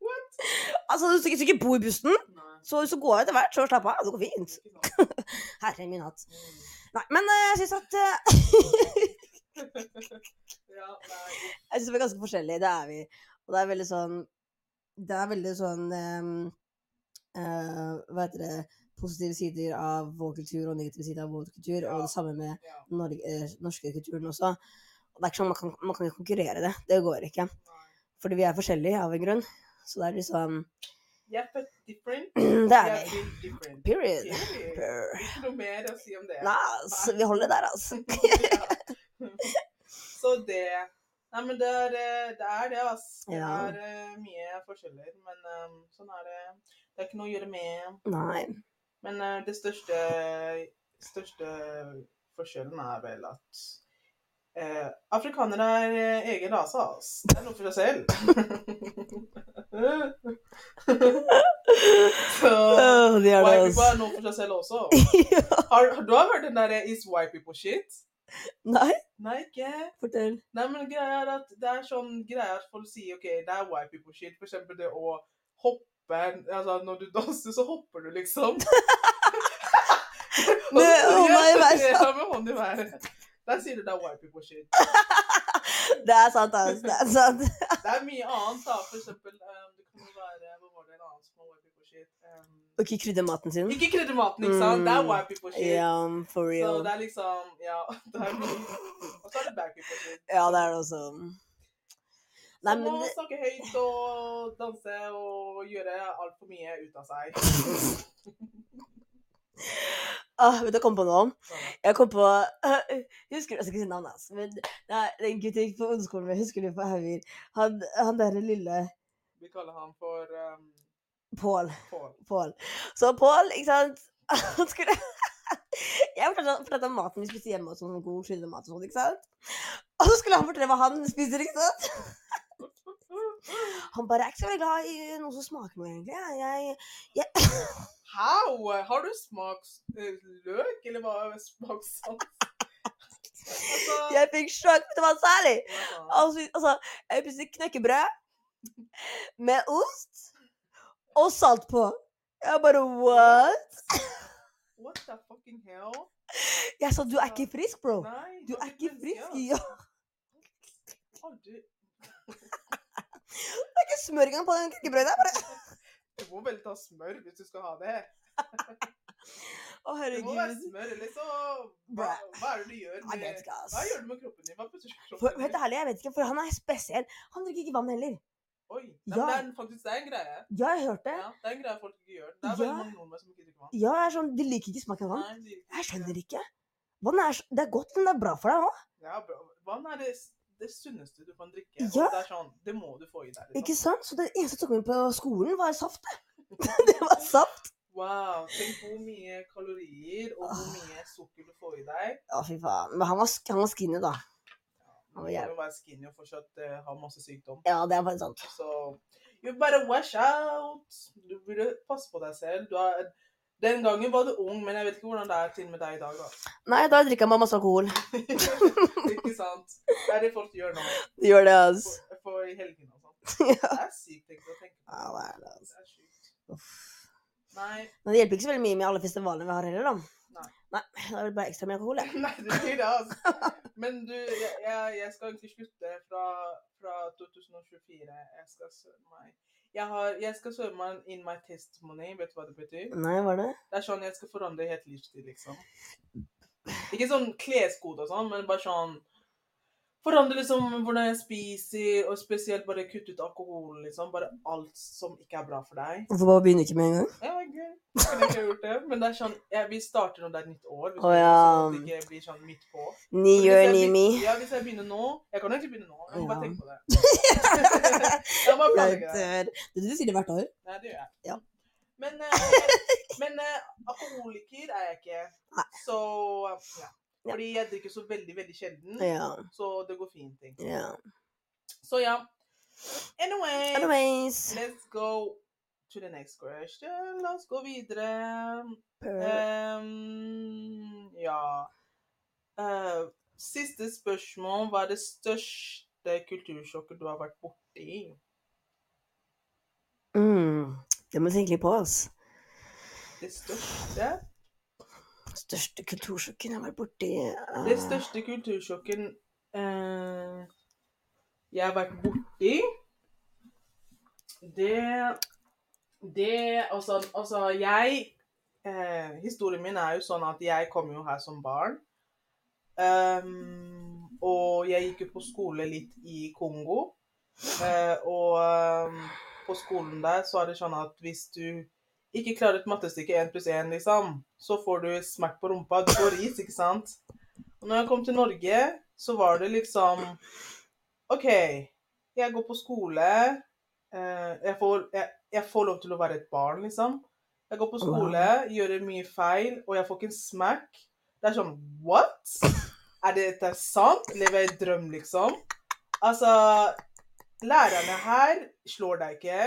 What?
Altså, hvis du ikke- hvis du ikke bor i bussen,
Nei.
så hvis du går etter hvert, så slapp av. Det går fint.
ikke sant.
Herre min hatt.
Mm.
Nei, men eh, jeg syns at eh,
Ja, nei.
Jeg synes vi er ganske forskjellige, det er vi. Og det er veldig sånn Det er veldig sånn ehm, eh, Hva heter det Positive sider av vår kultur og negative sider av vår kultur. Og
Ja.
det samme med
Ja,
Norge, eh, norske kulturen også. Og det er ikke sånn man kan, man kan ikke konkurrere det. Det går ikke.
nei.
Fordi vi er forskjellige av en grunn. Så det er liksom
Jeg er født different.
Det er
Jeg
vi.
built different.
Period.
Period.
Brr.
Ikke noe mer å si om det.
Nei, altså, vi holder det der, altså.
Ja. Så det Nei, men det er eh, det, er det ass. Det
Ja.
er eh, mye forskjeller, men eh, sånn er det. Det er ikke noe å gjøre med.
Nei.
Men eh, det største, største forskjellen er vel at eh, afrikanere er eh, egen rase, ass. Det er noe for seg selv. Så
Åh, de er det,
White people
altså.
er noe for seg selv også.
Ja.
Har, har- du har hørt den derre is white people shit?
Nei,
Nei, ikke?
fortell.
Nei, men greia er at det er sånn greier at folk sier OK, det er white people shit. For eksempel det å hoppe Altså, når du danser, så hopper du, liksom. Og
Med
så gjør
hånda i
du
været.
det, Ja, med hånda i været. Der sier du det er white people shit.
Det er sant, altså. Det er sant.
Det er mye annet, da. For eksempel, eh, det kan jo være Hva var det en annen som var white people shit? Eh,
Ikke krydre maten sin.
ikke krydre maten, ikke sant? Det er
Mm.
white people shit.
Ja, for real.
Så det er liksom Ja. Det er mye. Og så er det black people. shit.
Ja, det er det også. Nei,
Som
men
å snakke høyt og danse og gjøre altfor mye ut av seg.
ah, Vet du hva jeg kom på nå?
Sånn.
Jeg kom på Husker du Jeg skal ikke si navnet hans, men det er det er en gutt jeg gikk på ungdomsskolen med. Husker du på Hauger? Han, han derre lille
Vi kaller han for um,
Pål.
Pål.
Pål. Så Pål, ikke sant Han skulle Jeg fortalte han- fortalte om maten vi spiste hjemme og sånn, god krydret mat og sånn, ikke sant? Og så skulle han fortelle hva han spiser, ikke sant? Han bare Jeg er ikke så veldig glad i noe som smaker noe, egentlig. Jeg, jeg,
How? Har du smaksløk, eller hva er smakssans? Altså,
jeg fikk sjokk, vet du hva, særlig!
hva faen?
Altså, altså jeg spiste knekkebrød med ost og salt på. Jeg bare what?
What the fucking hell?
Jeg sa du er ikke frisk, bro.
Nei,
Du er ikke frisk.
menneske,
Ja.
ass. Aldri.
Det er ikke smør engang på den knekkebrødet. Jeg bare
Du må vel ta smør hvis du skal ha det. Det må være
Å, herregud.
smør, eller så Hva, hva er det du gjør
Jeg
med
vet
Hva
ikke, ass.
gjør du med kroppen din? Hva putter du i kroppen
For, helt ærlig, jeg vet ikke, for han er spesiell. Han drikker ikke vann heller.
Oi, nei,
Ja.
men det er en- faktisk det er en greie.
Ja, jeg har hørt det.
Ja, det er en greie folk ikke gjør. Det er veldig
Ja.
mange nordmenn som ikke drikker vann.
Ja, jeg er sånn, De liker ikke smaken av vann.
Nei, de-
Jeg skjønner ikke. Vann er, så- det er godt, men det er bra for deg òg.
Ja, bra. Vann er det, det sunneste du kan drikke.
Ja.
Og det er sånn, det må du få i deg.
Ikke
Liksom.
sant? Så det eneste som tok med på skolen, var saft. det. det var saft.
Wow, tenk hvor mye kalorier og hvor
Ah.
mye sukker du får i deg.
Å, fy faen. Men han var, sk- han var skinny, da.
Du
Å,
må
jævlig.
jo være skinny og fortsatt eh, ha masse sykdom.
Ja, det er faktisk sant.
Så you better wash out. Du burde passe på deg selv. Du er, den gangen var du ung, men jeg vet ikke hvordan det er til med deg i dag.
Nei, da drikker man masse alkohol.
da. ikke sant? Det er det folk gjør nå.
Det gjør det, altså.
For, for i helgene og sånn.
ja.
Det er sykt egentlig å tenke på.
Ja, det er det, altså.
Det er sykt.
Uff.
Nei,
Men det hjelper ikke så veldig mye med alle festivalene vi har heller, da.
Nei.
Nei, Da er det bare ekstra mye alkohol, jeg.
Nei, du sier det, altså. Men du, jeg, jeg jeg skal egentlig slutte fra, fra 2024. Jeg skal søve meg jeg, har, jeg skal søve meg in my testimony. Vet du hva det betyr?
Nei, var det?
Det er sånn jeg skal forandre helt livsstil, liksom. Ikke sånn kleskode og sånn, men bare sånn Forandre liksom hvordan jeg spiser, og spesielt bare kutte ut alkoholen, liksom. Bare alt som ikke er bra for deg.
Hvorfor bare begynne ikke med en gang?
Ja, gøy. Kunne ikke gjort det. Men det er sånn, jeg, vi starter når det er nytt år.
Å, ja.
Sånn at det ikke blir sånn midt på.
Ni
Hvis
gjør
jeg
ni
begy-
mi.
Ja, hvis jeg begynner nå Jeg kan egentlig begynne nå. Jeg må bare
Ja.
tenke på det. jeg må bare
Jeg
planlegge det.
dør. Du, du sier det hvert år.
Nei, det gjør jeg.
Ja.
Men, eh, men eh, alkoholiker er jeg ikke. Så ja.
Ja.
Fordi jeg drikker så veldig, veldig sjelden.
Ja.
Så det går fint. Ting.
ja.
Så ja. Anyway,
Anyways.
let's go to the next question. La oss gå videre. Eh,
Uh,
Ehm, ja Eh, Siste spørsmål. Hva er det største kultursjokket du har vært borti?
Mm. Det må jeg tenke litt på, altså.
Det største?
Største kultursjokken jeg har vært borti eh,
Det største kultursjokket eh, jeg har vært borti, det Det Altså, altså jeg eh, Historien min er jo sånn at jeg kom jo her som barn. Ehm, og jeg gikk jo på skole litt i Kongo. Eh, og ehm, på skolen der så er det sånn at hvis du ikke klarer et mattestykke 1 pluss 1, liksom, så får du smert på rumpa. Du får ris, ikke sant? Og når jeg kom til Norge, så var det liksom OK, jeg går på skole. eh, jeg, får, jeg, jeg får lov til å være et barn, liksom. Jeg går på skole, gjør mye feil, og jeg får ikke en smack. Det er sånn What? Er dette sant? Lever jeg i en drøm, liksom? Altså Lærerne her slår deg ikke.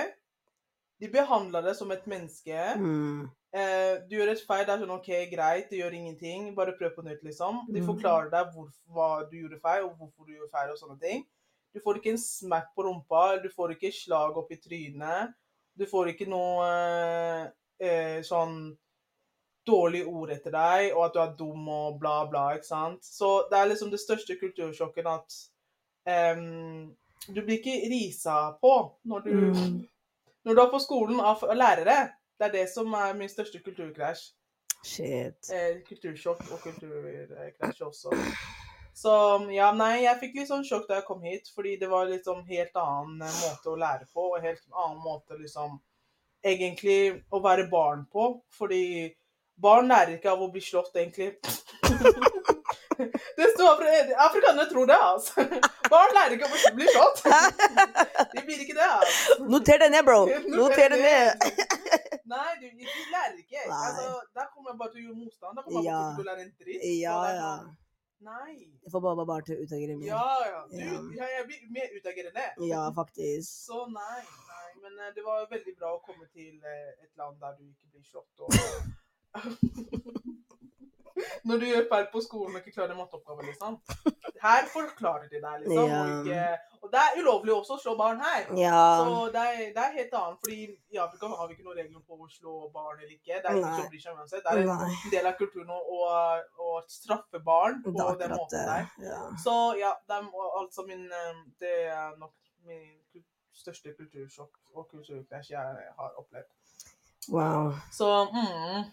De behandler deg som et menneske.
mm.
Eh, du gjør et feil, det er sånn OK, greit, det gjør ingenting, bare prøv på nytt, liksom. De
Mm.
forklarer deg hvor, hva du gjorde feil, og hvorfor du gjorde feil, og sånne ting. Du får ikke en smack på rumpa, du får ikke slag opp i trynet. Du får ikke noe eh, eh, sånn dårlig ord etter deg, og at du er dum og bla, bla, ikke sant. Så det er liksom det største kultursjokket at em, du blir ikke risa på når du
Mm.
når du er på skolen av av lærere, det er det som er min største kulturkrasj.
Shit.
Eh, kultursjokk og kulturkrasj også. Så um, ja, nei, jeg fikk litt sånn sjokk da jeg kom hit, fordi det var liksom helt annen eh, måte å lære på, og helt annen måte liksom egentlig å være barn på, fordi barn lærer ikke av å bli slått, egentlig. Det står afri- Afrikanere tror det, altså. Barn lærer ikke av å bli slått. De blir ikke det, altså.
Noter det ned, bro. Noter det ned.
Nei, du, de lærer ikke.
Nei.
Altså, der kommer jeg bare til å gjøre motstand. Der kommer jeg bare
Ja.
til å lære en dritt. Så
Ja,
det er
ja.
sånn, Nei.
Jeg får bare barn til å utagere mye.
Ja, ja. Du,
Ja.
ja, jeg blir mer utagerende.
Ja, faktisk.
Så nei, nei. Men eh, det var veldig bra å komme til eh, et land der du ikke blir slått. Og... Når du gjør feil på skolen og ikke klarer matteoppgaven, liksom. Her forklarer de deg, liksom. Og, ikke... og det er ulovlig også å slå barn her.
Ja.
Så det er, det er helt annet, fordi i Afrika har vi ikke noen regler på å slå barn eller ikke. Det er ingen
Nei.
som bryr seg uansett. Det er
Nei,
en del av kulturen å, å, å straffe barn
det eh, er
på den
akkurat
måten
det.
der.
Ja.
Så ja, det er må- altså min eh, Det er nok min kul- største kultursjokk og kulturkrasj jeg har opplevd.
Wow.
Så mm,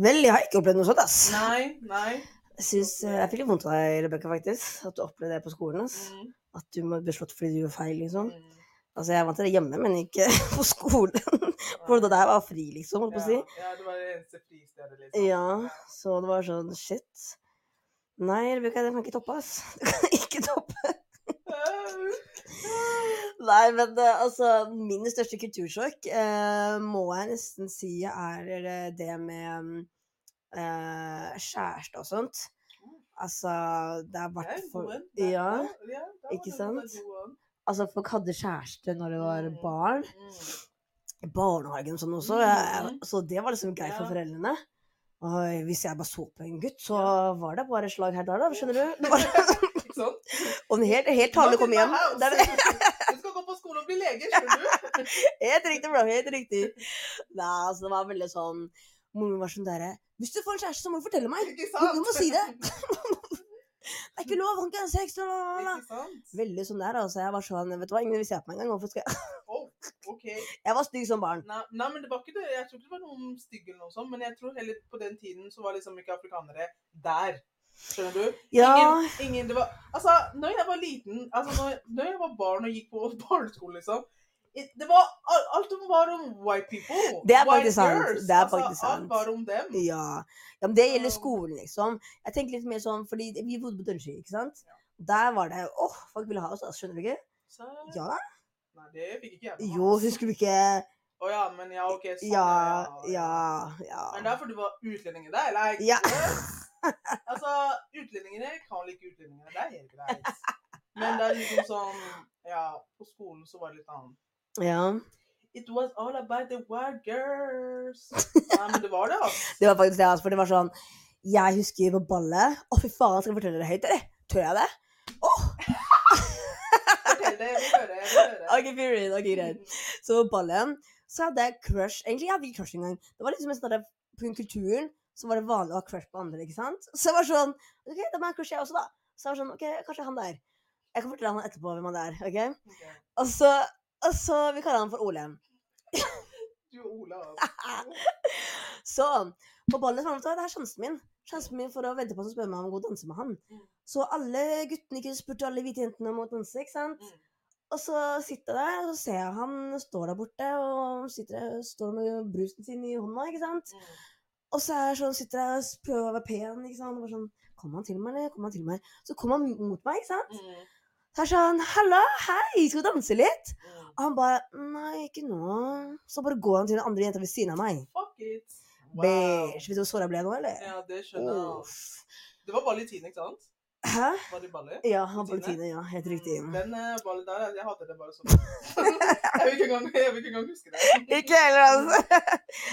Vel, jeg har ikke opplevd noe sånt, ass.
Nei, nei.
Jeg, synes, eh, jeg fikk litt vondt av deg, Rebekka, faktisk. At du opplevde det på skolen. ass.
Mm,
At du må bli slått fordi du gjør feil, liksom.
mm,
Altså, jeg er vant til det hjemme, men ikke på skolen. For da der var fri, liksom, holdt på å si.
ja, ja, det var det eneste fristedet, liksom.
Ja, så det var sånn shit. Nei, Rebekka, det kan ikke toppe, ass. Det kan ikke toppe. Nei, men eh, altså Min største kultursjokk eh, må jeg nesten si er eh, det med eh, kjæreste og sånt. Altså, det er
Det er
hvert
en god
for...
en. Det-
Ja,
ja, ja, det var
ikke
en
sant?
god en.
Altså, folk hadde kjæreste når de var
Mm.
barn.
Mm.
I barnehagen og sånn også. Jeg,
Mhm.
så det var liksom greit for
Ja.
foreldrene. Og hvis jeg bare så på en gutt, så var det bare slag her der, da. Skjønner du? Det var-
Ikke sant?
Og en helt, helt tale kom hjem. Det er det.
Du skal gå på skole og bli lege, skjønner du?
Helt riktig, bro. Helt riktig. Nei, altså, det var veldig sånn Moren min var sånn derre Hvis du får en kjæreste, så må du fortelle meg!
Ikke
Du,
sant?
du må si det! Det er ikke lov! Han kan ha sex! La, la, la, la.
Ikke sant?
Veldig sånn der, altså. Jeg var sånn Vet du hva, ingen vil se på meg engang. Hvorfor skal jeg
Oh, ok.
Jeg var stygg som barn.
Nei, nei, men det var ikke det. Jeg tror ikke det var noen stygge eller noe sånt, men jeg tror heller på den tiden så var liksom ikke afrikanere der. Skjønner du?
Ja.
Ingen, ingen, det var, altså, når jeg var liten, altså, når, når jeg var barn og gikk på barneskole, liksom, i- det var, al- alt om var om white people.
Det er
white
faktisk sant.
girls.
Det er
altså,
faktisk sant.
Alt var om dem.
Ja. ja, men det gjelder
Så-
skolen, liksom. Jeg tenker litt mer sånn, fordi det- vi bodde på Dønsky, ikke sant? Der var det åh, folk ville ha oss, altså, skjønner du ikke?
Så,
Ja
Nei, det fikk ikke jeg med meg.
Jo, husker du ikke?
Å ja, men ja, ok. Sånn,
Ja, ja,
Men
ja.
det er fordi du var utlending i deg, eller?
Ja.
Altså, utlendingene kan like utlendingene. Det er helt greit. Men det er liksom sånn Ja, på skolen så var det litt annet.
ja.
It was all about the wild girls. Nei, men det var det, altså.
Det var faktisk det, altså, for det var sånn Jeg husker på ballet Å, fy faen, skal jeg fortelle det høyt, eller? Tør jeg det?
Fortell det. Jeg vil høre. Jeg vil høre.
OK, period. OK, greit. Så på ballen så hadde jeg crush Egentlig jeg hadde ikke crush engang. Det var liksom en sånn der- på grunn av kulturen så var det vanlig å ha crush på andre, ikke sant? Så jeg var sånn OK, da må jeg crushe jeg også, da. Så jeg var sånn OK, kanskje han der. Jeg kan fortelle han etterpå hvem han er, OK?
Mm, Ok.
Og så, og så Vi kaller han for Ole.
Du og Ola altså.
Så på ballen så var han sånn, det er sjansen min. Sjansen min for å vente på han og spørre meg om jeg vil gå og danse med han.
Mm.
Så alle guttene ikke spurte alle hvite jentene om å danse, ikke sant?
Mm.
Og så sitter jeg der, og så ser jeg han står der borte, og sitter der, står med brusen sin i hånda, ikke sant?
Mm.
Og så er jeg sånn, sitter jeg og s- prøver å være pen, ikke sant? Og bare sånn, kom han til meg, eller? Kom han til meg? Så kom han mot meg, ikke sant?
Mm.
Så er jeg sånn, hallo, hei, skal vi danse litt?
Mm.
Og han bare, nei, ikke nå. Så bare går han til den andre jenta ved siden av meg.
Fuck it. Wow.
Beige. Vet du hvor sår jeg ble nå, eller?
Ja, det skjønner jeg. altså.
Uff.
Det var ball i tiden, ikke sant?
Hæ?
Var det ballet?
Ja, han
Rutine?
politiet, ja. Helt riktig.
Mm, Den eh, ballen der, jeg hater det bare sånn. jeg, vil ikke engang, jeg vil ikke engang huske det.
Ikke heller, altså.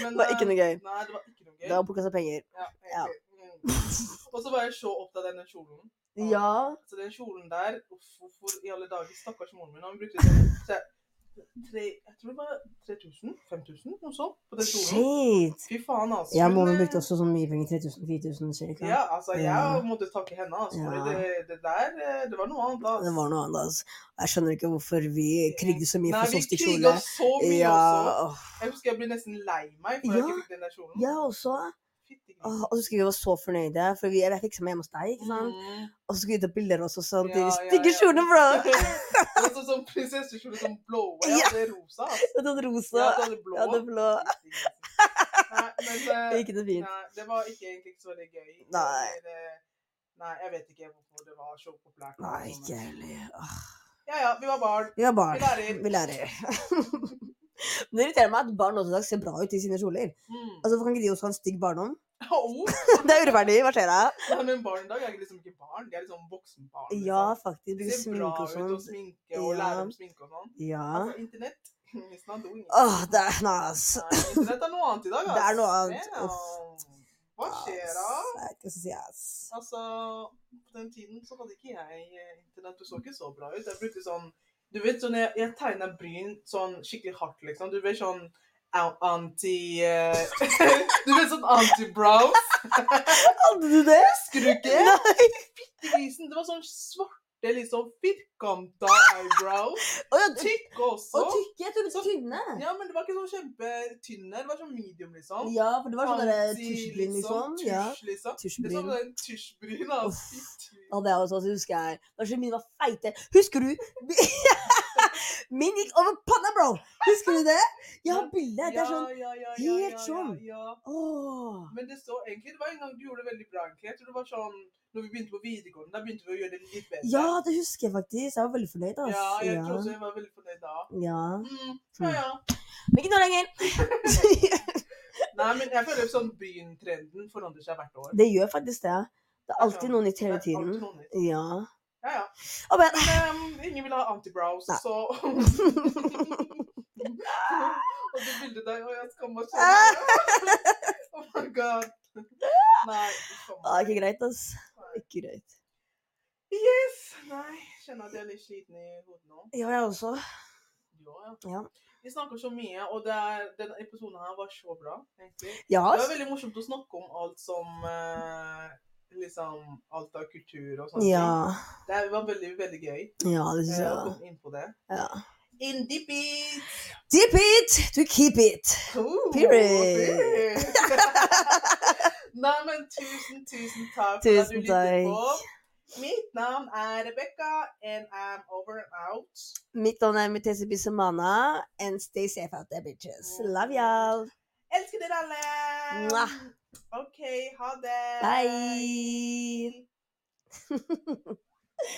Men,
Det var ikke noe gøy.
eh, Nei, det var ikke noe gøy.
Det var bortkasta penger.
Ja,
ja.
egentlig. Mm. Og så var jeg så opptatt av denne kjolen. Og-
Ja.
Så den kjolen der, uff, hvorfor i alle dager, stakkars moren min, han brukte sånn, tre, tre, jeg tror det var 3000, 5000, noe sånt, på den kjolen.
Shit.
Fy faen, altså.
Ja,
Hun,
moren
eh,
brukte også så mye penger. 3000, 4000, cirka.
Ja, altså,
Ja.
jeg måtte takke henne, altså, for
Ja.
det, det der, eh, det var noe annet, altså.
Det var noe annet, altså. Jeg skjønner ikke hvorfor vi krigde så mye for så stygg
Nei, vi
kjole.
kriga så mye
Ja,
også.
åh.
Jeg husker jeg ble nesten lei meg for at jeg
Ja.
ikke fikk den der kjolen.
Jeg også.
Fytti grisen.
Åh, Og så skulle vi være så fornøyde, for vi, jeg fikk sammen hjemme hos deg. ikke sant?
Mm.
Og så skulle vi ta bilder også, sånn. til
Ja,
de
ja,
Stygge
ja.
kjolene, bro!
Det var sånn som prinsessekjole, sånn blå. og Jeg
Ja.
hadde rosa. altså.
Jeg hadde
Jeg
rosa.
hadde blå.
Jeg hadde blå.
Fytti grisen. Nei, men eh,
Gikk det fint?
nei, det var ikke egentlig ikke så veldig gøy.
Nei.
Eller, eh, Nei, jeg vet ikke hvorfor det var så populært.
Nei, ikke jeg heller. Åh.
Ja, ja, vi var barn.
Vi har barn.
Vi lærer.
Vi lærer. Men det irriterer meg at barn også i dag ser bra ut i sine kjoler.
Mm.
Altså, Hvorfor kan ikke de også ha en stygg barndom?
Oh,
Det er urettferdig. Hva skjer da?
nei, men barn i dag er liksom ikke barn, de er liksom voksenbarn. Liksom.
Ja, faktisk.
Det
Bruke
ser bra
sminke
ut å sminke
og sånt.
og
Ja.
lære om sminke og sånn.
Ja.
Altså, internett It's not doing it.
Åh, det er nas.
Nei, Internett er noe annet i dag,
Det
ass.
er noe annet,
Ja. Hva skjer da?
Jeg vet ikke hva jeg skal si, ass.
Altså, på den tiden så hadde ikke jeg eh, internett. Du så ikke så bra ut. Jeg brukte sånn Du vet sånn jeg, jeg tegna bryn sånn skikkelig hardt, liksom. Du vet sånn au- anti eh, Du vet sånn anti-brows.
Hadde du det?
Husker du ikke?
Nei.
Grisen, det var sånn svarte, liksom firkanta eyebrows.
Å ja, ty-
Tykk også.
og tykke. Jeg trodde tynne.
Sånn? Ja, men det var ikke sånn kjempetynne. Det var sånn medium, liksom.
Ja, for det var sånn derre
Anti,
tusjbryn, liksom.
Tusj,
Ja.
liksom. Det er
Tusjbryn.
sånn en tusjbryn, altså. Fy
Ja, det er også, altså, husker jeg. Kanskje mine var feite. Husker du? Min gikk over panna, bro! Husker du det? Jeg har bilde. Det er sånn
ja, ja,
helt sånn.
Ja, ja.
Åh.
Men det står egentlig Det var en gang du gjorde det veldig bra. egentlig. Jeg tror det var sånn når vi begynte på videregående, da begynte vi å gjøre det litt bedre.
Ja, det husker jeg faktisk. Jeg var veldig fornøyd. ass.
ja jeg
ja.
tror også jeg var veldig fornøyd da.
ja.
Mm, ja, ja.
Men ikke nå lenger.
Nei, men jeg føler sånn bryntrenden forandrer seg hvert år.
det gjør faktisk det. Det er alltid noe nytt hele
Det er
tiden.
alltid noe nytt.
Ja.
Ja, ja.
Oh, men.
Men ehm, ingen vil ha antibrows,
Nei.
så Og det bildet der, og jeg skammer meg sånn. Oh my god. Nei. skammer
Ah,
meg.
ikke greit, ass. Ikke greit.
Yes! Nei, kjenner at jeg er litt sliten i hodet nå.
Ja, jeg også.
Ja,
Ja.
Vi snakker så mye, og det er, denne episoden her var så bra. egentlig.
Ja,
Det var
ass.
veldig morsomt å snakke om alt som eh, liksom alt av kultur og sånt.
Ja.
Det var veldig, veldig gøy
ja, det
eh,
synes jeg.
å
var.
komme inn på det.
Ja.
Indie beat!
Dip it to keep it.
Ooh,
Period.
period. Nei, men tusen, tusen takk for at du
Tusen
lytter
takk.
på. Mitt navn er Rebecca, and I'm over and out.
Mitt navn er Mutesi Bissamana, and stay safe out there, bitches. Love y'all.
Elsker dere alle!
Mwah.
OK, ha det!
Bye.